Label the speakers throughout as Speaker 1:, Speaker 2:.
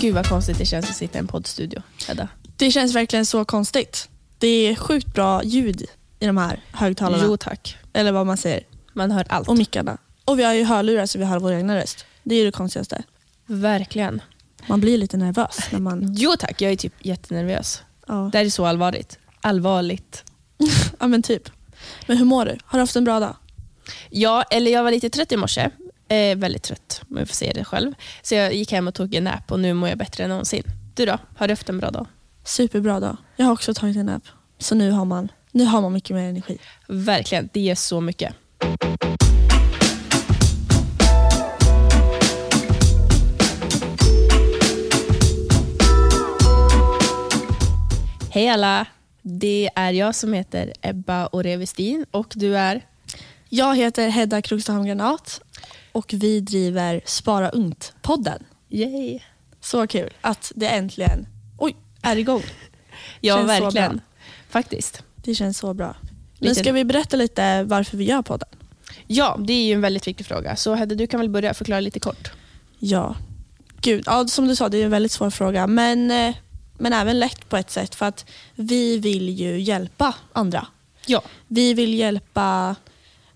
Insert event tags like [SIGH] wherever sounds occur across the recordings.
Speaker 1: Gud vad konstigt det känns att sitta i en poddstudio, Hedda.
Speaker 2: Det känns verkligen så konstigt. Det är sjukt bra ljud i de här högtalarna.
Speaker 1: Jo tack.
Speaker 2: Eller vad man säger.
Speaker 1: Man hör allt.
Speaker 2: Och mickarna. Och vi har ju hörlurar så vi hör vår egna röst. Det är ju det konstigaste.
Speaker 1: Verkligen.
Speaker 2: Man blir lite nervös när man...
Speaker 1: Jo tack, jag är typ jättenervös.
Speaker 2: Ja,
Speaker 1: Det här är så allvarligt. Allvarligt.
Speaker 2: ja men typ. Men hur mår du? Har du haft en bra dag?
Speaker 1: Ja, eller jag var lite trött i morse. Eh, väldigt trött, om jag får säga det själv. Så jag gick hem och tog en nap och nu mår jag bättre än någonsin. Du då? Har du haft en bra dag?
Speaker 2: Superbra dag. Jag har också tagit en nap. Så nu har man, nu har man mycket mer energi.
Speaker 1: Verkligen, det ger så mycket. Hej alla! Det är jag som heter Ebba Orevestin och du är...
Speaker 2: Jag heter Hedda Krogstaholm Granat och vi driver Spara Ungt-podden.
Speaker 1: Yay!
Speaker 2: Så kul att det äntligen oj, är igång.
Speaker 1: Ja,
Speaker 2: Känns så
Speaker 1: verkligen.
Speaker 2: bra.
Speaker 1: Faktiskt.
Speaker 2: Det känns så bra. Men
Speaker 1: Lite-
Speaker 2: ska vi berätta lite varför vi gör podden?
Speaker 1: Ja, det är ju en väldigt viktig fråga. Så Hedda, du kan väl börja förklara lite kort.
Speaker 2: Ja. Gud, ja, som du sa, det är en väldigt svår fråga. Men, eh, men även lätt på ett sätt för att vi vill ju hjälpa andra.
Speaker 1: Ja.
Speaker 2: Vi vill hjälpa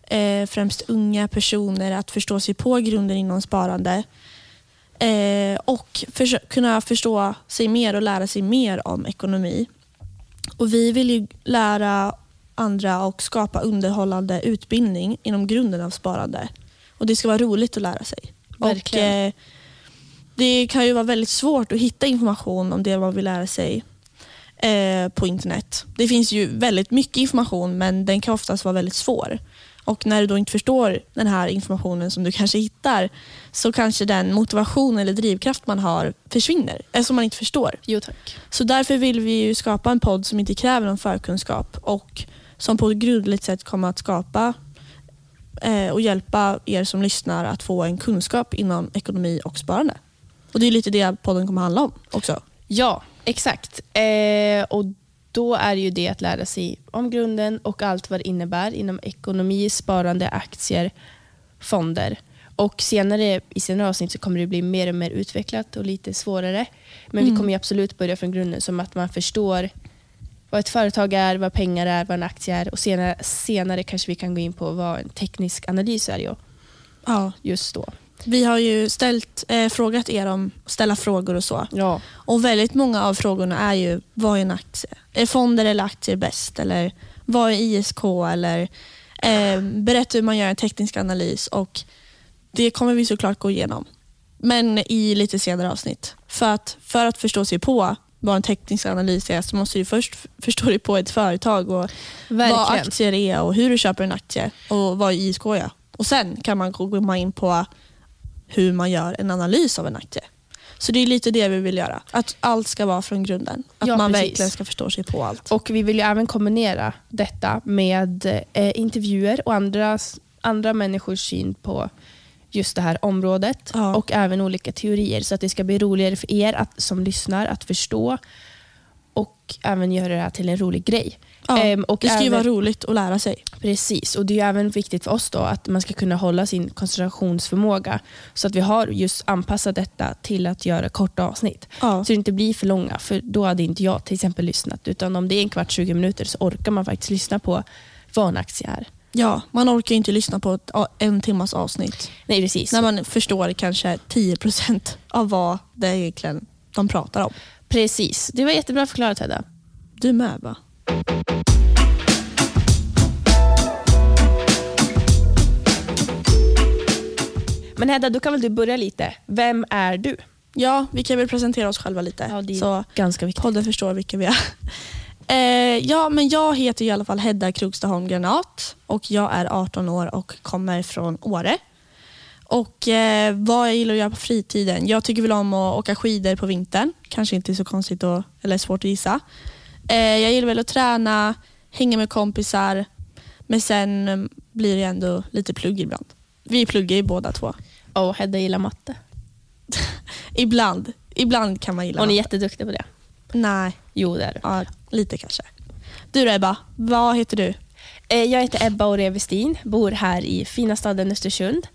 Speaker 2: eh, främst unga personer att förstå sig på grunden inom sparande eh, och försö- kunna förstå sig mer och lära sig mer om ekonomi. Och Vi vill ju lära andra och skapa underhållande utbildning inom grunden av sparande. Och Det ska vara roligt att lära sig. Och,
Speaker 1: Verkligen.
Speaker 2: eh, det kan ju vara väldigt svårt att hitta information om det man vill lära sig eh, på internet. Det finns ju väldigt mycket information men den kan oftast vara väldigt svår. Och när du då inte förstår den här informationen som du kanske hittar så kanske den motivation eller drivkraft man har försvinner eftersom man inte förstår.
Speaker 1: Jo tack.
Speaker 2: Så därför vill vi ju skapa en podd som inte kräver någon förkunskap och som på ett grundligt sätt kommer att skapa eh, och hjälpa er som lyssnar att få en kunskap inom ekonomi och sparande. Och Det är lite det podden kommer handla om också.
Speaker 1: Ja, exakt. Eh, och då är ju det att lära sig om grunden och allt vad det innebär inom ekonomi, sparande, aktier, fonder. Och senare i senare avsnitt så kommer det bli mer och mer utvecklat och lite svårare. Men vi kommer ju absolut börja från grunden som att man förstår vad ett företag är, vad pengar är, vad en aktie är och senare, senare kanske vi kan gå in på vad en teknisk analys är ju
Speaker 2: Ja.
Speaker 1: just då.
Speaker 2: Vi har ju ställt, eh, frågat er om att ställa frågor och så.
Speaker 1: Ja,
Speaker 2: Och Väldigt många av frågorna är ju, vad är en aktie? Är fonder eller aktier bäst? Eller vad är ISK? Eller, eh, berätta hur man gör en teknisk analys. Och Det kommer vi såklart gå igenom, men i lite senare avsnitt. För att, för att förstå sig på vad en teknisk analys är så måste du först f- förstå dig på ett företag och vad
Speaker 1: verkligen.
Speaker 2: aktier är och hur du köper en aktie och vad ISK är. Och Sen kan man gå- komma in på hur man gör en analys av en aktie. Så det är lite det vi vill göra. Att allt ska vara från grunden. Att
Speaker 1: Ja,
Speaker 2: man
Speaker 1: precis.
Speaker 2: verkligen ska förstå sig på allt.
Speaker 1: Och vi vill ju även kombinera detta med eh, intervjuer och andra, andra människors syn på just det här området
Speaker 2: Ja.
Speaker 1: och även olika teorier så att det ska bli roligare för er att, som lyssnar att förstå och även göra det här till en rolig grej.
Speaker 2: Ja,
Speaker 1: Ehm, och
Speaker 2: det ska ju
Speaker 1: även-
Speaker 2: vara roligt att lära sig.
Speaker 1: Precis, och det är ju även viktigt för oss då att man ska kunna hålla sin koncentrationsförmåga så att vi har just anpassat detta till att göra korta avsnitt.
Speaker 2: Ja.
Speaker 1: Så det inte blir för långa, för då hade inte jag till exempel lyssnat. Utan om det är en kvart, 20 minuter så orkar man faktiskt lyssna på vad en aktie är.
Speaker 2: Ja, man orkar ju inte lyssna på ett, a- en timmas avsnitt.
Speaker 1: Nej, precis.
Speaker 2: När man förstår kanske 10% av vad det är egentligen de pratar om.
Speaker 1: Precis. Det var jättebra förklarat Hedda.
Speaker 2: Du med va?
Speaker 1: Men Hedda, då kan väl du börja lite. Vem är du?
Speaker 2: Ja, vi kan väl presentera oss själva lite. så
Speaker 1: ganska viktigt.
Speaker 2: podden förstår vilka vi är. [LAUGHS] Eh, ja, men jag heter ju i alla fall Hedda Krogstaholm Granat och jag är 18 år och kommer från Åre. Och eh, Vad jag gillar att göra på fritiden? Jag tycker väl om att åka skidor på vintern. Kanske inte så konstigt att, eller svårt att gissa. Eh, jag gillar väl att träna, hänga med kompisar, men sen eh, blir det ändå lite plugg ibland. Vi pluggar ju båda två.
Speaker 1: Och Hedda gillar matte.
Speaker 2: Ibland, ibland kan man gilla
Speaker 1: Hon är
Speaker 2: matte.
Speaker 1: jätteduktig på det.
Speaker 2: Nej,
Speaker 1: Jo, det är det.
Speaker 2: ja, lite kanske. Du då Ebba, vad heter du?
Speaker 1: Eh, Jag heter Ebba och Revestin, bor här i fina staden Östersund.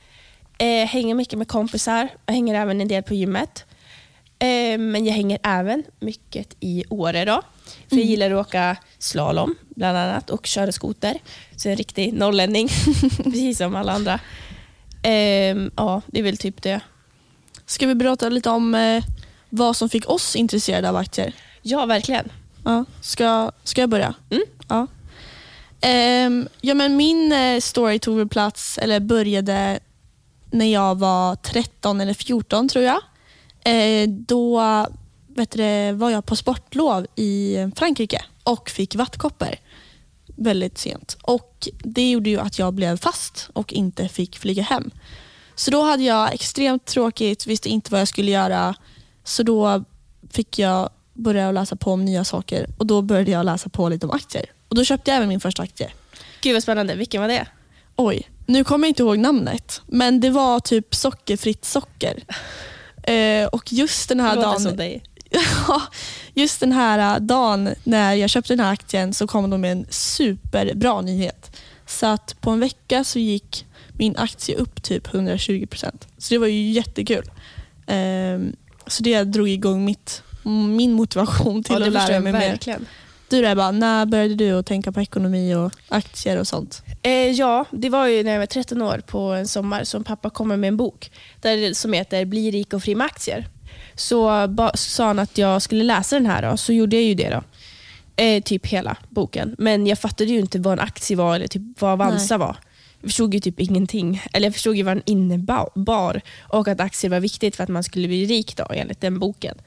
Speaker 1: Eh, hänger mycket med kompisar, jag hänger även en del på gymmet. Eh, men jag hänger även mycket i Åre. Då, för Jag gillar att åka slalom bland annat och köra skoter. Så jag är en riktig norrlänning, [LAUGHS] precis som alla andra. Eh, ja, det är väl typ det.
Speaker 2: Ska vi berätta lite om eh, vad som fick oss intresserade av aktier?
Speaker 1: Ja, verkligen.
Speaker 2: Ja. Ska, ska jag börja?
Speaker 1: Mm.
Speaker 2: Ja. Ehm, ja, men min eh, story tog väl plats, eller började när jag var 13 eller 14 tror jag. Eh, då vet du, det, var jag på sportlov i Frankrike och fick vattkoppor väldigt sent. Och Det gjorde ju att jag blev fast och inte fick flyga hem. Så då hade jag extremt tråkigt, visste inte vad jag skulle göra. Så då fick jag börja läsa på om nya saker och då började jag läsa på lite om aktier. Och Då köpte jag även min första aktie.
Speaker 1: Gud vad spännande. Vilken var det?
Speaker 2: Oj, nu kommer jag inte ihåg namnet, men det var typ
Speaker 1: [LAUGHS]
Speaker 2: sockerfritt socker. Eh, och just den här
Speaker 1: det låter
Speaker 2: dagen...
Speaker 1: som dig.
Speaker 2: [LAUGHS] Ja, just den här eh, dagen när jag köpte den här aktien så kom de med en superbra nyhet. Så att på en vecka så gick min aktie upp typ 120 procent. Så det var ju jättekul. Ehm, så det drog igång mitt, min motivation till
Speaker 1: Ja, det
Speaker 2: att
Speaker 1: förstår
Speaker 2: lära
Speaker 1: jag
Speaker 2: mig mer.
Speaker 1: verkligen.
Speaker 2: Du då Ebba, när började du att tänka på ekonomi och aktier och sånt?
Speaker 1: Eh, ja, det var ju när jag var 13 år på en sommar som pappa kommer med en bok där, som heter Bli rik och fri med aktier. Så ba, sa han att jag skulle läsa den här då, så gjorde jag ju det. då. Eh, typ hela boken. Men jag fattade ju inte vad en aktie var eller typ vad Avanza var. Jag förstod ju typ ingenting. Eller jag förstod ju vad den innebar och att aktier var viktigt för att man skulle bli rik då, enligt den boken.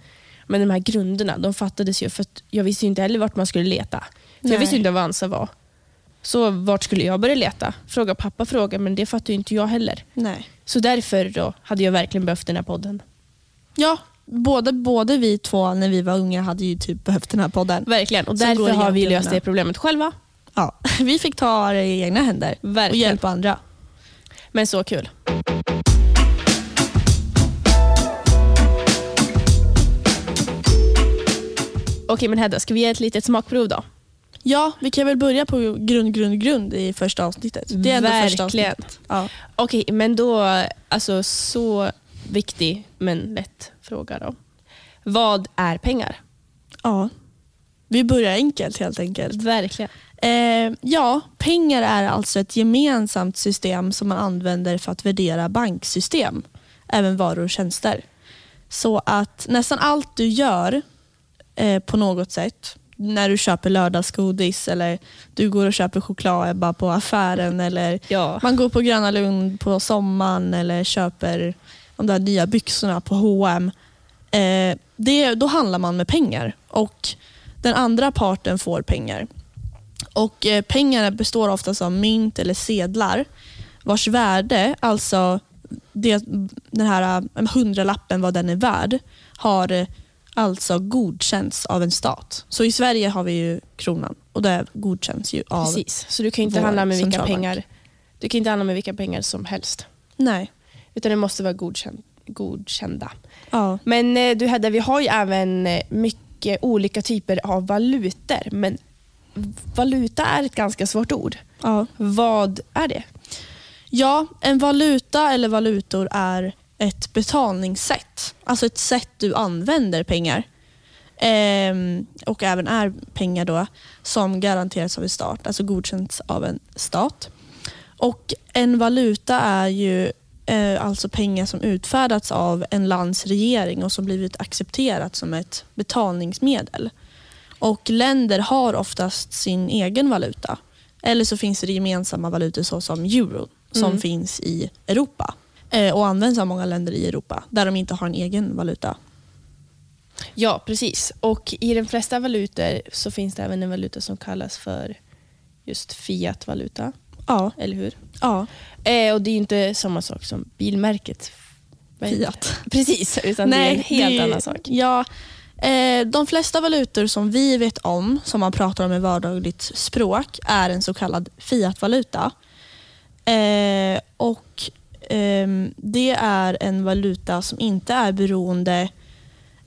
Speaker 1: Men de här grunderna de fattades ju för att jag visste ju inte heller vart man skulle leta. För jag
Speaker 2: Nej.
Speaker 1: visste ju inte vad Avanza var. Så vart skulle jag börja leta? Fråga pappa fråga, men det fattar ju inte jag heller.
Speaker 2: Nej.
Speaker 1: Så därför då hade jag verkligen behövt den här podden.
Speaker 2: Ja, både, både vi två när vi var unga hade ju typ behövt den här podden.
Speaker 1: Verkligen. Och
Speaker 2: Så går
Speaker 1: därför
Speaker 2: det
Speaker 1: har vi
Speaker 2: egentligen
Speaker 1: löst
Speaker 2: bra.
Speaker 1: det problemet själva.
Speaker 2: Ja, [LAUGHS] vi fick ta det i egna händer och
Speaker 1: Verkligen.
Speaker 2: hjälpa andra.
Speaker 1: Men så kul. Okej men Hedda, ska vi ge ett litet smakprov då?
Speaker 2: Ja, vi kan väl börja på grund, grund, grund i första avsnittet. Det är ändå första
Speaker 1: Verkligen.
Speaker 2: avsnittet. Ja.
Speaker 1: Okej, men då, alltså så viktig men lätt fråga då. Vad är pengar?
Speaker 2: ja. Vi börjar enkelt helt enkelt.
Speaker 1: Verkligen.
Speaker 2: Eh, ja, pengar är alltså ett gemensamt system som man använder för att värdera banksystem, även varor och tjänster. Så att nästan allt du gör eh, på något sätt, när du köper lördagsgodis eller du går och köper choklad Ebba, på affären eller
Speaker 1: Ja.
Speaker 2: man går på Gröna Lund på sommaren eller köper de där nya byxorna på H&M. Eh, det, då handlar man med pengar och den andra parten får pengar. Och eh, Pengarna består oftast av mynt eller sedlar vars värde, alltså det, den här eh, hundralappen vad den är värd, har eh, alltså godkänts av en stat. Så i Sverige har vi ju kronan och det godkänns ju av...
Speaker 1: Precis, så du kan ju inte
Speaker 2: vår
Speaker 1: handla med vilka
Speaker 2: centralbank.
Speaker 1: pengar Du kan inte handla med vilka pengar som helst.
Speaker 2: Nej.
Speaker 1: Utan det måste vara godkänd, godkända.
Speaker 2: Ja.
Speaker 1: Men eh, du Hedda, vi har ju även eh, mycket olika typer av valutor. Men valuta är ett ganska svårt ord.
Speaker 2: Ja.
Speaker 1: Vad är det?
Speaker 2: Ja, en valuta eller valutor är ett betalningssätt. Alltså ett sätt du använder pengar. Ehm, och även är pengar då som garanteras av en stat, alltså godkänts av en stat. Och En valuta är ju eh, alltså pengar som utfärdats av en lands regering och som blivit accepterat som ett betalningsmedel. Och Länder har oftast sin egen valuta. Eller så finns det gemensamma valutor såsom euro som finns i Europa eh, och används av många länder i Europa där de inte har en egen valuta.
Speaker 1: Ja, precis. Och I de flesta valutor så finns det även en valuta som kallas för just fiatvaluta.
Speaker 2: Ja,
Speaker 1: Eller hur?
Speaker 2: ja.
Speaker 1: Eh, och Det är ju inte samma sak som bilmärket. Vad heter det?
Speaker 2: Fiat.
Speaker 1: [LAUGHS] Precis, utan det är en helt
Speaker 2: det är-
Speaker 1: annan sak.
Speaker 2: Ja, eh, de flesta valutor som vi vet om, som man pratar om i vardagligt språk, är en så kallad fiatvaluta. Eh, och, ehm, det är en valuta som inte är beroende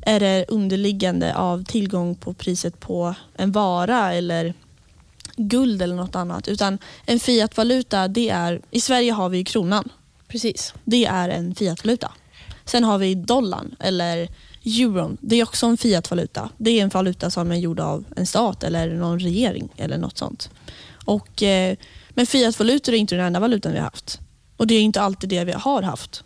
Speaker 2: är det underliggande av tillgång på priset på en vara eller guld eller något annat. Utan en fiatvaluta, det är, i Sverige har vi ju kronan.
Speaker 1: Precis.
Speaker 2: Det är en fiatvaluta. Sen har vi dollarn eller euron. Det är också en fiatvaluta. Det är en valuta som är gjord av en stat eller någon regering eller något sånt. Och, eh, men fiatvalutor är inte den enda valutan vi har haft. Och det är inte alltid det vi har haft.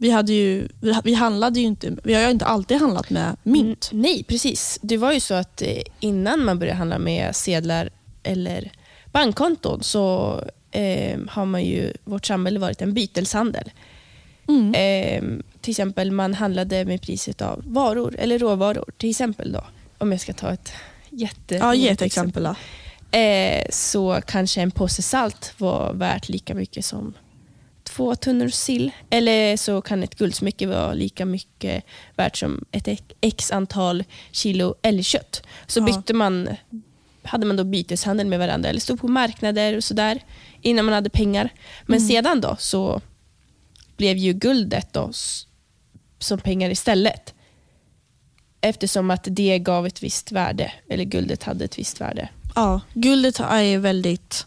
Speaker 2: Vi, hade ju, vi, vi handlade ju inte, vi har ju inte alltid handlat med mynt.
Speaker 1: Mm, nej, precis. Det var ju så att eh, innan man började handla med sedlar eller bankkonton så eh, har man ju, vårt samhälle varit en byteshandel.
Speaker 2: Mm.
Speaker 1: Eh, till exempel man handlade med priset av varor eller råvaror. Till exempel då, om jag ska ta ett jätte...
Speaker 2: Ja, ge ett exempel. Då.
Speaker 1: Eh, så kanske en påse salt var värt lika mycket som två tunnor sill. Eller så kan ett guldsmycke vara lika mycket värt som ett x antal kilo älgkött. Så
Speaker 2: Ja.
Speaker 1: bytte man, hade man då byteshandel med varandra eller stod på marknader och sådär innan man hade pengar. Men sedan då så blev ju guldet då s- som pengar istället. Eftersom att det gav ett visst värde, eller guldet hade ett visst värde.
Speaker 2: Ja, guldet är väldigt...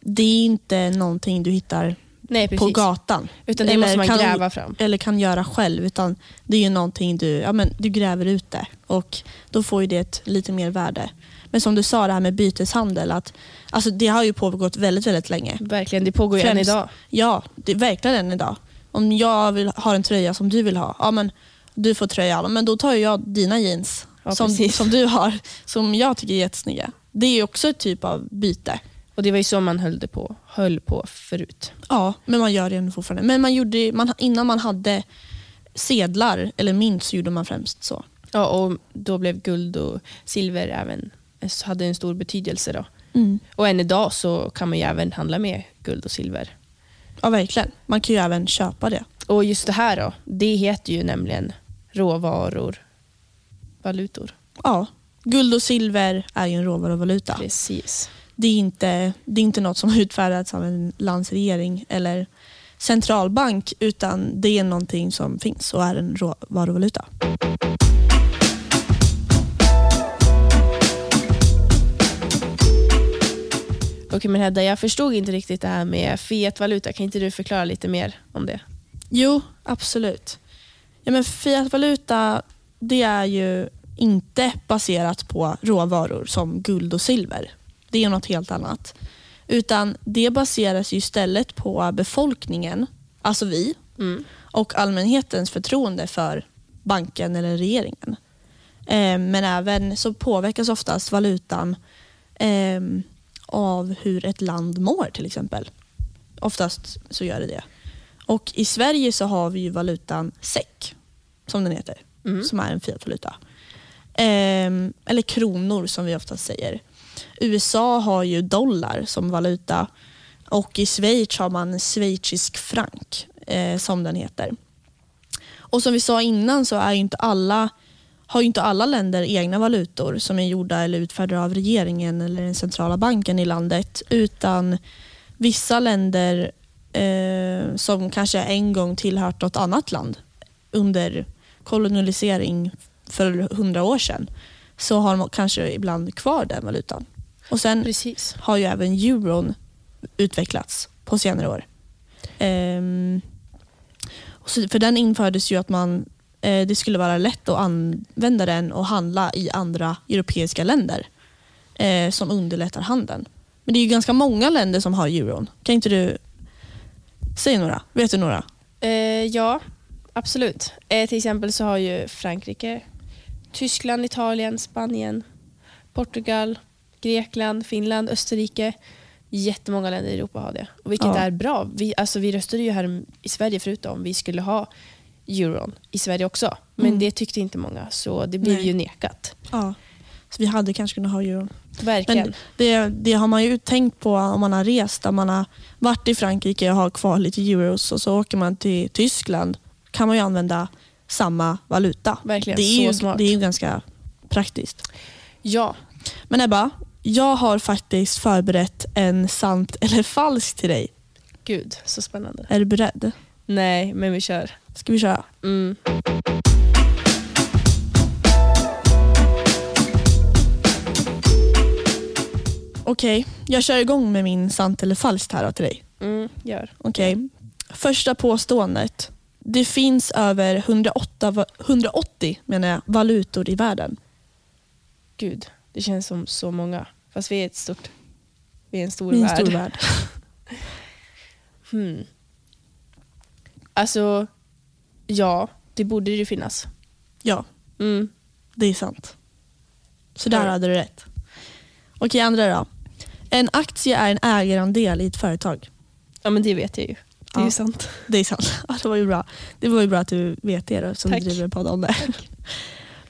Speaker 2: Det är inte någonting du hittar
Speaker 1: Nej, precis.
Speaker 2: på gatan.
Speaker 1: Utan det
Speaker 2: Eller
Speaker 1: måste man
Speaker 2: kan-
Speaker 1: gräva fram.
Speaker 2: eller kan göra själv. Utan det är ju någonting du, ja, men du gräver ut det och då får ju det ett lite mer värde. Men som du sa, det här med byteshandel, att, alltså, det har ju pågått väldigt, väldigt länge.
Speaker 1: Verkligen, det pågår ju än
Speaker 2: Främst-
Speaker 1: idag.
Speaker 2: Ja, det är verkligen än idag. Om jag vill, har en tröja som du vill ha, ja, men du får tröjan, men då tar ju jag dina jeans
Speaker 1: Ja,
Speaker 2: som,
Speaker 1: precis.
Speaker 2: som du har, som jag tycker är jättesnygga. Det är ju också ett typ av byte.
Speaker 1: Och Det var ju så man höll, det på, höll på förut.
Speaker 2: Ja, men man gör det ändå fortfarande. Men man gjorde, man, innan man hade sedlar eller mynt så gjorde man främst så.
Speaker 1: Ja, och Då blev guld och silver även hade en stor betydelse. Då.
Speaker 2: Mm.
Speaker 1: Och Än idag så kan man ju även handla med guld och silver.
Speaker 2: Ja, verkligen. Man kan ju även köpa det.
Speaker 1: Och Just det här då, det heter ju nämligen råvaror, valutor.
Speaker 2: Ja, guld och silver är ju en råvaruvaluta.
Speaker 1: Precis.
Speaker 2: Det är, inte, det är inte något som har utfärdats av en landsregering eller centralbank utan det är någonting som finns och är en råvaruvaluta.
Speaker 1: Okej, men Hedda, jag förstod inte riktigt det här med fiatvaluta. Kan inte du förklara lite mer om det?
Speaker 2: Jo, absolut. Ja, men fiatvaluta det är ju inte baserat på råvaror som guld och silver. Det är något helt annat. Utan det baseras ju istället på befolkningen, alltså vi,
Speaker 1: Mm.
Speaker 2: och allmänhetens förtroende för banken eller regeringen. Eh, men även så påverkas oftast valutan eh, av hur ett land mår till exempel. Oftast så gör det det. Och i Sverige så har vi ju valutan SEK, som den heter,
Speaker 1: Mm.
Speaker 2: som är en fiatvaluta. Ehm, eller kronor som vi ofta säger. USA har ju dollar som valuta och i Schweiz har man schweizisk frank, eh, som den heter. Och som vi sa innan så är ju inte alla, har ju inte alla länder egna valutor som är gjorda eller utfärdade av regeringen eller den centrala banken i landet. Utan vissa länder eh, som kanske en gång tillhört något annat land under kolonisering för hundra år sedan så har de kanske ibland kvar den valutan. Och sen
Speaker 1: Precis.
Speaker 2: har ju även euron utvecklats på senare år. Ehm, och så- för den infördes ju att man, eh, det skulle vara lätt att använda den och handla i andra europeiska länder eh, som underlättar handeln. Men det är ju ganska många länder som har euron. Kan inte du säga några? Vet du några?
Speaker 1: Eh, ja, absolut. Eh, till exempel så har ju Frankrike, Tyskland, Italien, Spanien, Portugal, Grekland, Finland, Österrike. Jättemånga länder i Europa har det. Och vilket
Speaker 2: Ja.
Speaker 1: är bra. Vi, alltså, vi röstade ju här i Sverige förut om vi skulle ha euron i Sverige också. Men det tyckte inte många, så det blev
Speaker 2: Mm. Nej.
Speaker 1: ju nekat.
Speaker 2: Ja. Så vi hade kanske kunnat ha euron.
Speaker 1: Verkligen.
Speaker 2: Men det, det har man ju tänkt på om man har rest, om man har varit i Frankrike och har kvar lite euros och så åker man till Tyskland kan man ju använda samma valuta.
Speaker 1: Verkligen,
Speaker 2: det är
Speaker 1: så
Speaker 2: ju,
Speaker 1: smart.
Speaker 2: Det är ju ganska praktiskt.
Speaker 1: ja,
Speaker 2: Men Ebba, jag har faktiskt förberett en sant [LAUGHS] eller falskt till dig.
Speaker 1: gud så spännande.
Speaker 2: Är du beredd?
Speaker 1: Nej, men vi kör.
Speaker 2: Ska vi köra?
Speaker 1: Mm.
Speaker 2: Okej, jag kör igång med min sant eller falskt här då till dig.
Speaker 1: Mm, gör.
Speaker 2: Okej. Första påståendet. Det finns över 108, va- 180 menar jag, valutor i världen.
Speaker 1: Gud, det känns som så många. Fast vi är ett stort... Vi är en stor
Speaker 2: I en
Speaker 1: värld.
Speaker 2: stor värld.
Speaker 1: Hmm. Alltså, ja, det borde ju finnas.
Speaker 2: Ja,
Speaker 1: Mm.
Speaker 2: det är sant. Så där
Speaker 1: Ja.
Speaker 2: hade du rätt. Okej, andra då. En aktie är en ägarandel i ett företag.
Speaker 1: Ja, men det vet jag ju. Det är
Speaker 2: Ja.
Speaker 1: ju sant.
Speaker 2: Det är sant. [LAUGHS] Ja, det, var ju bra. det var ju bra att du vet det då, som
Speaker 1: Tack.
Speaker 2: driver en podd om det. [LAUGHS]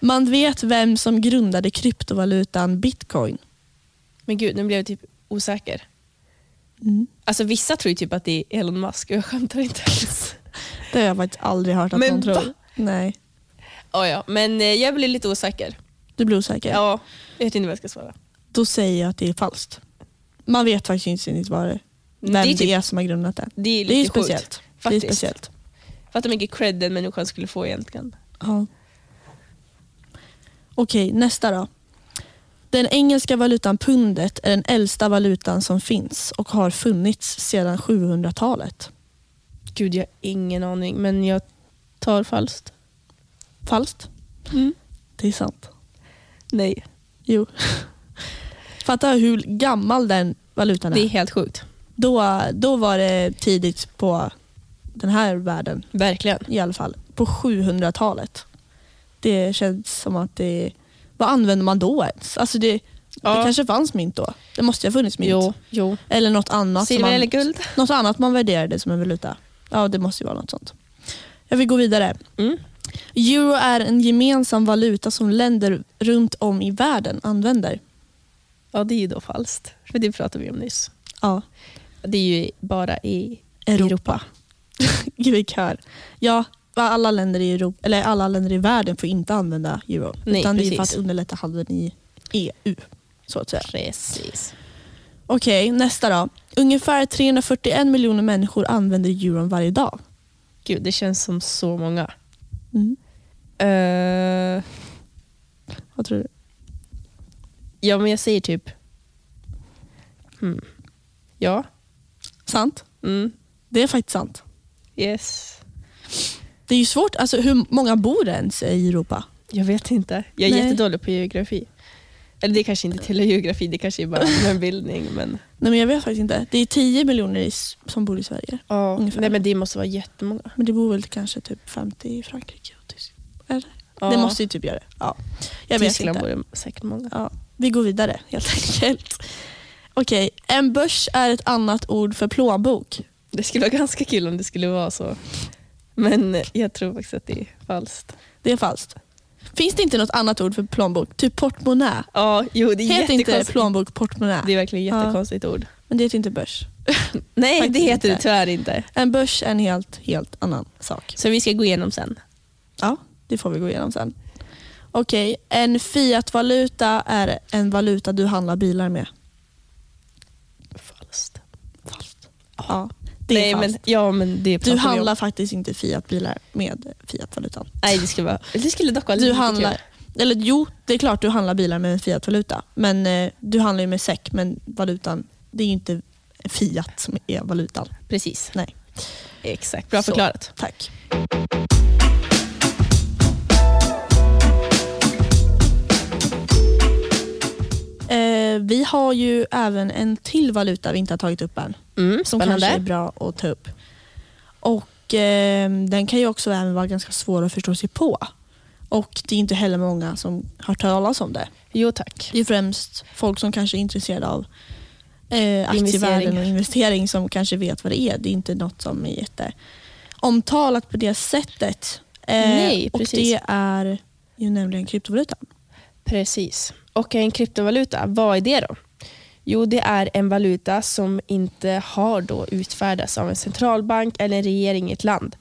Speaker 2: Man vet vem som grundade kryptovalutan bitcoin.
Speaker 1: Men gud, nu blev jag typ osäker.
Speaker 2: Mm.
Speaker 1: Alltså vissa tror ju typ att det är Elon Musk och jag skämtar inte alls.
Speaker 2: Det har jag faktiskt aldrig hört att
Speaker 1: Men
Speaker 2: någon tror.
Speaker 1: va?
Speaker 2: Nej,
Speaker 1: Ja, ja, men eh, jag blir lite osäker.
Speaker 2: du blir osäker.
Speaker 1: Ja, jag vet inte vad jag ska svara.
Speaker 2: Då säger jag att det är falskt. Man vet faktiskt inte riktigt vad det, vem
Speaker 1: det
Speaker 2: det
Speaker 1: är
Speaker 2: är,
Speaker 1: typ-
Speaker 2: som har grundat det.
Speaker 1: Det är lite
Speaker 2: Det är ju
Speaker 1: sjukt.
Speaker 2: speciellt. Det är
Speaker 1: Faktiskt.
Speaker 2: speciellt.
Speaker 1: Fattar hur mycket cred den människan skulle få egentligen.
Speaker 2: Ja. Okej, nästa då. Den engelska valutan pundet är den äldsta valutan som finns och har funnits sedan 700-talet.
Speaker 1: Gud, jag har ingen aning, men jag tar falskt.
Speaker 2: Falskt?
Speaker 1: Mm.
Speaker 2: Det är sant.
Speaker 1: Nej,
Speaker 2: Jo. Fatta hur gammal den valutan är.
Speaker 1: det är helt sjukt.
Speaker 2: Då, då var det tidigt på den här världen
Speaker 1: Verkligen.
Speaker 2: i alla fall. På 700-talet. Det känns som att det... Vad använde man då ens? Alltså det, det
Speaker 1: Ja.
Speaker 2: kanske fanns mynt då? Det måste ju ha funnits mynt.
Speaker 1: Jo, jo.
Speaker 2: Eller något annat, som
Speaker 1: Silver eller
Speaker 2: man,
Speaker 1: guld?
Speaker 2: något annat man värderade som en valuta. Ja, det måste ju vara något sånt. Jag vill gå vidare.
Speaker 1: Mm.
Speaker 2: Euro är en gemensam valuta som länder runt om i världen använder.
Speaker 1: Ja, det är ju då falskt. För det pratade vi om nyss.
Speaker 2: Ja,
Speaker 1: Det är ju bara i
Speaker 2: Europa.
Speaker 1: Europa.
Speaker 2: [LAUGHS] Gud, vilken kör. Ja, alla länder, i Europa, eller alla länder i världen får inte använda euro.
Speaker 1: Nej,
Speaker 2: utan det är för
Speaker 1: precis.
Speaker 2: att underlätta handeln i EU. Så att säga.
Speaker 1: Precis.
Speaker 2: Okej, nästa då. Ungefär 341 miljoner människor använder euron varje dag.
Speaker 1: Gud, det känns som så många.
Speaker 2: Mm.
Speaker 1: Eh,
Speaker 2: Vad tror du?
Speaker 1: ja, men jag säger typ... Hmm. Ja.
Speaker 2: Sant?
Speaker 1: Mm.
Speaker 2: Det är faktiskt sant.
Speaker 1: Yes.
Speaker 2: Det är ju svårt. Alltså, hur många bor det ens i Europa?
Speaker 1: Jag vet inte. Jag är
Speaker 2: Nej.
Speaker 1: jättedålig på geografi. Eller det kanske inte tillhör geografi, det kanske är
Speaker 2: [LAUGHS]
Speaker 1: bara allmänbildning. Men,
Speaker 2: Nej, men jag vet faktiskt inte. Det är 10 miljoner i, s- som bor i Sverige.
Speaker 1: ja.
Speaker 2: Ungefär.
Speaker 1: Nej, men det måste vara jättemånga.
Speaker 2: Men det bor väl kanske typ 50 i Frankrike och Tyskland. Eller?
Speaker 1: Ja.
Speaker 2: Det måste ju typ göra det. Ja. Jag vet
Speaker 1: Tyskland
Speaker 2: inte.
Speaker 1: bor det säkert många.
Speaker 2: Ja, vi går vidare helt enkelt. Okej, en börs är ett annat ord för plånbok.
Speaker 1: Det skulle vara ganska kul om det skulle vara så. Men jag tror faktiskt att det är falskt.
Speaker 2: Det är falskt. Finns det inte något annat ord för plånbok? Typ portmonnä?
Speaker 1: Ja, jo det är
Speaker 2: Heter inte
Speaker 1: jättekonstigt.
Speaker 2: plånbok portmonnä?
Speaker 1: det är verkligen
Speaker 2: Ja.
Speaker 1: jättekonstigt ord.
Speaker 2: Men det heter inte börs.
Speaker 1: Nej,
Speaker 2: Faktiskt
Speaker 1: det heter det
Speaker 2: inte.
Speaker 1: tyvärr inte.
Speaker 2: En börs är en helt, helt annan sak.
Speaker 1: Så vi ska gå igenom sen.
Speaker 2: Ja, det får vi gå igenom sen. Okej, en fiatvaluta är en valuta du handlar bilar med.
Speaker 1: Falskt.
Speaker 2: Falskt. Ja, det är
Speaker 1: Nej,
Speaker 2: falskt.
Speaker 1: Men, ja, men det pratar
Speaker 2: du
Speaker 1: vi om.
Speaker 2: handlar faktiskt inte fiatbilar med fiatvalutan.
Speaker 1: Nej, det skulle, vara, det skulle dock vara
Speaker 2: Du
Speaker 1: lite
Speaker 2: handlar,
Speaker 1: kul.
Speaker 2: eller jo, det är klart du handlar bilar med en fiatvaluta. Men eh, du handlar ju med SEK, men valutan, det är ju inte fiat som är valutan.
Speaker 1: Precis.
Speaker 2: Nej.
Speaker 1: Exakt, bra
Speaker 2: Så.
Speaker 1: förklarat.
Speaker 2: Tack. Eh, vi har ju även en till valuta vi inte har tagit upp än.
Speaker 1: Mm,
Speaker 2: Som
Speaker 1: spännande.
Speaker 2: kanske är bra att ta upp. Och eh, Den kan ju också även vara ganska svår att förstå sig på. Och Det är inte heller många som har hört talas om det.
Speaker 1: Jo tack.
Speaker 2: Det är främst folk som kanske är intresserade av eh, aktievärden
Speaker 1: Investeringar.
Speaker 2: och investering som kanske vet vad det är. Det är inte något som är jätteomtalat på det sättet. Eh,
Speaker 1: Nej,
Speaker 2: och
Speaker 1: precis.
Speaker 2: Det är ju nämligen kryptovalutan.
Speaker 1: Precis. Och en kryptovaluta, vad är det då? Jo, det är en valuta som inte har då utfärdats av en centralbank eller en regering i ett land.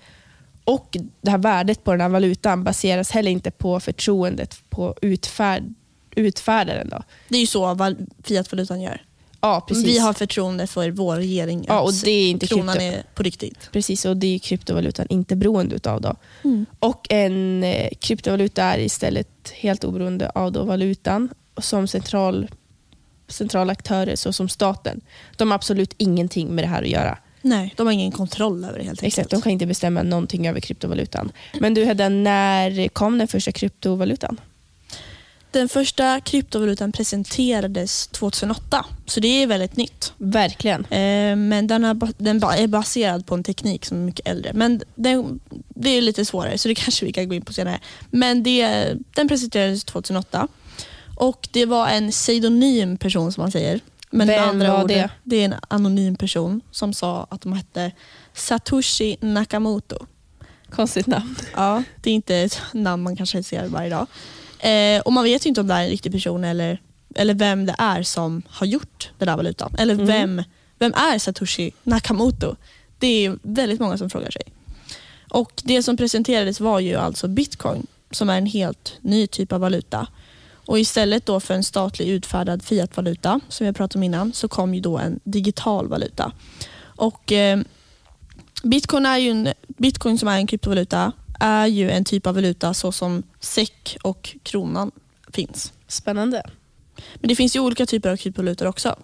Speaker 1: Och det här värdet på den här valutan baseras heller inte på förtroendet på utfärd, utfärdaren. Då.
Speaker 2: Det är ju så val- fiatvalutan gör.
Speaker 1: Ja, precis.
Speaker 2: Vi har förtroende för vår regering
Speaker 1: Ja, och
Speaker 2: att
Speaker 1: det är inte
Speaker 2: kronan
Speaker 1: krypto.
Speaker 2: är på riktigt.
Speaker 1: Precis, och det är ju kryptovalutan inte beroende utav. Då.
Speaker 2: Mm.
Speaker 1: Och en eh, kryptovaluta är istället helt oberoende av då valutan som centralbanken centrala aktörer såsom staten, de har absolut ingenting med det här att göra.
Speaker 2: Nej, de har ingen kontroll över det helt
Speaker 1: Exakt,
Speaker 2: enkelt.
Speaker 1: de kan inte bestämma någonting över kryptovalutan. Men du Hedda, när kom den första kryptovalutan?
Speaker 2: Den första kryptovalutan presenterades 2008, så det är väldigt nytt.
Speaker 1: Verkligen.
Speaker 2: Eh, Men den, har, ba- den ba- är baserad på en teknik som är mycket äldre. Men den, det är lite svårare, så det [LAUGHS] kanske vi kan gå in på senare. Men det, den presenterades 2008. Och Det var en pseudonym person, som man säger. Men med
Speaker 1: Vem
Speaker 2: andra
Speaker 1: var
Speaker 2: ord,
Speaker 1: det?
Speaker 2: det är en anonym person som sa att de hette Satoshi Nakamoto.
Speaker 1: Konstigt namn.
Speaker 2: Ja, det är inte ett namn man kanske ser varje dag. Eh, och Man vet ju inte om det här är en riktig person eller, eller vem det är som har gjort den här valutan. Eller
Speaker 1: Mm.
Speaker 2: vem, vem är Satoshi Nakamoto? Det är ju väldigt många som frågar sig. Och Det som presenterades var ju alltså bitcoin som är en helt ny typ av valuta. Och Istället då för en statlig utfärdad fiatvaluta som vi har pratat om innan så kom ju då en digital valuta. Och eh, Bitcoin, är ju en, Bitcoin som är en kryptovaluta är ju en typ av valuta så som SEK och kronan finns.
Speaker 1: Spännande.
Speaker 2: Men det finns ju olika typer av kryptovalutor också.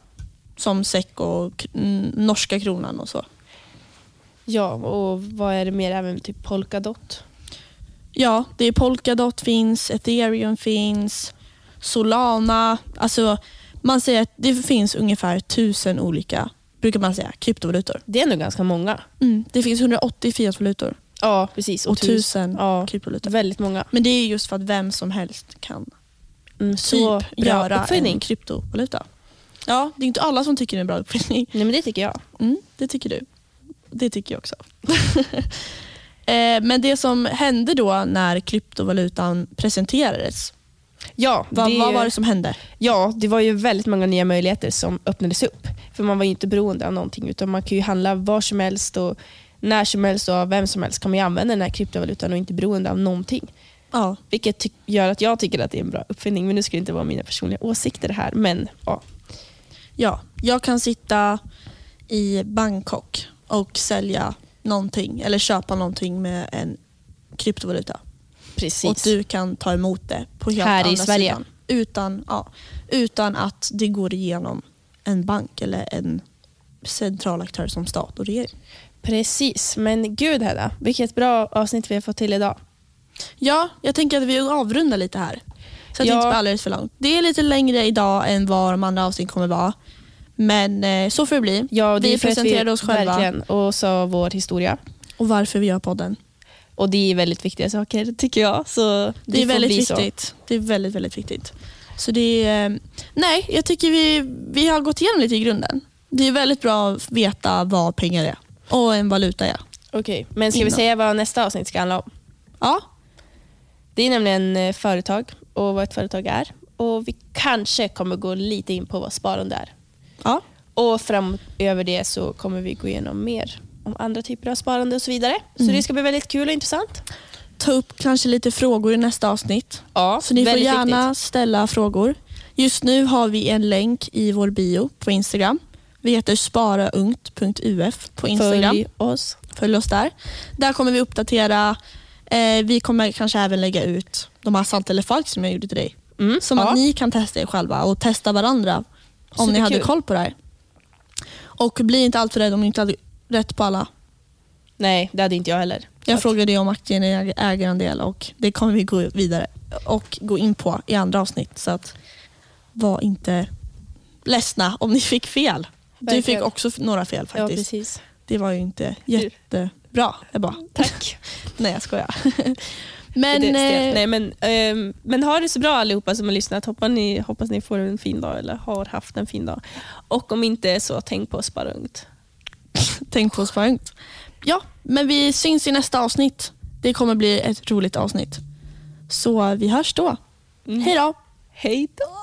Speaker 2: Som SEK och k- n- norska kronan och så.
Speaker 1: Ja, och vad är det mer? Även typ Polkadot?
Speaker 2: Ja, det är Polkadot finns, ethereum finns, Solana. Alltså man säger att det finns ungefär tusen olika, brukar man säga, kryptovalutor.
Speaker 1: Det är nog ganska många.
Speaker 2: Mm, det finns 180 fiatvalutor
Speaker 1: Ja, precis.
Speaker 2: och
Speaker 1: tus-
Speaker 2: tusen
Speaker 1: Ja,
Speaker 2: kryptovalutor.
Speaker 1: väldigt många.
Speaker 2: Men det är just för att vem som helst kan
Speaker 1: Mm, så
Speaker 2: typ
Speaker 1: bra
Speaker 2: göra en
Speaker 1: uppföljning.
Speaker 2: kryptovaluta. Ja, det är inte alla som tycker det är en bra uppfinning.
Speaker 1: Nej, men det tycker jag.
Speaker 2: Mm, det tycker du. Det tycker jag också. [LAUGHS] eh, men det som hände då när kryptovalutan presenterades,
Speaker 1: Ja,
Speaker 2: vad,
Speaker 1: det,
Speaker 2: vad var det som hände?
Speaker 1: ja, det var ju väldigt många nya möjligheter som öppnades upp. För man var ju inte beroende av någonting utan man kan ju handla var som helst och när som helst och av vem som helst kan man ju använda den här kryptovalutan och inte beroende av någonting.
Speaker 2: Ja,
Speaker 1: Vilket ty- gör att jag tycker att det är en bra uppfinning. Men nu ska det inte vara mina personliga åsikter här. Men ja,
Speaker 2: ja, jag kan sitta i Bangkok och sälja någonting eller köpa någonting med en kryptovaluta.
Speaker 1: precis.
Speaker 2: och du kan ta emot det på helt
Speaker 1: Här i
Speaker 2: andra
Speaker 1: Sverige.
Speaker 2: sidan. Utan, ja, utan att det går igenom en bank eller en central aktör som stat och regering.
Speaker 1: Precis, men gud Hedda, vilket bra avsnitt vi har fått till idag.
Speaker 2: Ja, jag tänker att vi avrundar lite här. Så att
Speaker 1: Ja.
Speaker 2: det inte blir alldeles för långt. Det är lite längre idag än vad de andra avsnitten kommer vara. Men eh, så får det bli.
Speaker 1: Ja, och det
Speaker 2: vi
Speaker 1: är för att
Speaker 2: presenterade oss själva
Speaker 1: Verkligen, och sa vår historia.
Speaker 2: och varför vi gör podden.
Speaker 1: Och det är väldigt viktiga saker tycker jag. Så det,
Speaker 2: Det är
Speaker 1: får
Speaker 2: väldigt
Speaker 1: bli så.
Speaker 2: viktigt. Det är väldigt, väldigt viktigt. Så det är, eh, nej, jag tycker vi, vi har gått igenom lite i grunden. Det är väldigt bra att veta vad pengar är och en valuta är.
Speaker 1: Okej, men ska vi
Speaker 2: Innan.
Speaker 1: säga vad nästa avsnitt ska handla om?
Speaker 2: Ja,
Speaker 1: Det är nämligen eh, företag och vad ett företag är. Och vi kanske kommer gå lite in på vad sparande är.
Speaker 2: ja,
Speaker 1: Och framöver det så kommer vi gå igenom mer om andra typer av sparande och så vidare. Så det ska bli väldigt kul och intressant.
Speaker 2: ta upp kanske lite frågor i nästa avsnitt.
Speaker 1: Ja,
Speaker 2: Så ni får
Speaker 1: väldigt
Speaker 2: gärna
Speaker 1: viktigt.
Speaker 2: ställa frågor. Just nu har vi en länk i vår bio på Instagram. Vi heter sparaungt.uf på Instagram.
Speaker 1: Följ oss.
Speaker 2: Följ oss där. Där kommer vi uppdatera. Eh, vi kommer kanske även lägga ut de här sant eller falskt som jag gjorde till dig.
Speaker 1: Mm,
Speaker 2: Som
Speaker 1: ja.
Speaker 2: att ni kan testa er själva och testa varandra om ni hade
Speaker 1: Superkul.
Speaker 2: koll på det här. Och bli inte alltför rädd om ni inte hade rätt på alla.
Speaker 1: Nej, det hade inte jag heller.
Speaker 2: Jag
Speaker 1: Så-
Speaker 2: frågade dig om aktien är ägarandel och det kommer vi gå vidare och gå in på i andra avsnitt. Så att var inte ledsna om ni fick fel. Du fick
Speaker 1: Verkligen.
Speaker 2: också f- några fel
Speaker 1: Ja, [LAUGHS]
Speaker 2: faktiskt.
Speaker 1: precis.
Speaker 2: det var ju inte jättebra. Jag bara,
Speaker 1: Tack.
Speaker 2: nej jag skojar. [LAUGHS]
Speaker 1: Men,
Speaker 2: Men, eh,
Speaker 1: Nej, men, ehm, men ha det så bra allihopa som har lyssnat. Hoppas ni, hoppas ni får en fin dag eller har haft en fin dag. Och om inte så tänk på att spara ungt.
Speaker 2: tänk på spankt. Ja, men vi syns i nästa avsnitt. Det kommer bli ett roligt avsnitt. Så vi hörs då. Hej då!
Speaker 1: Hej då!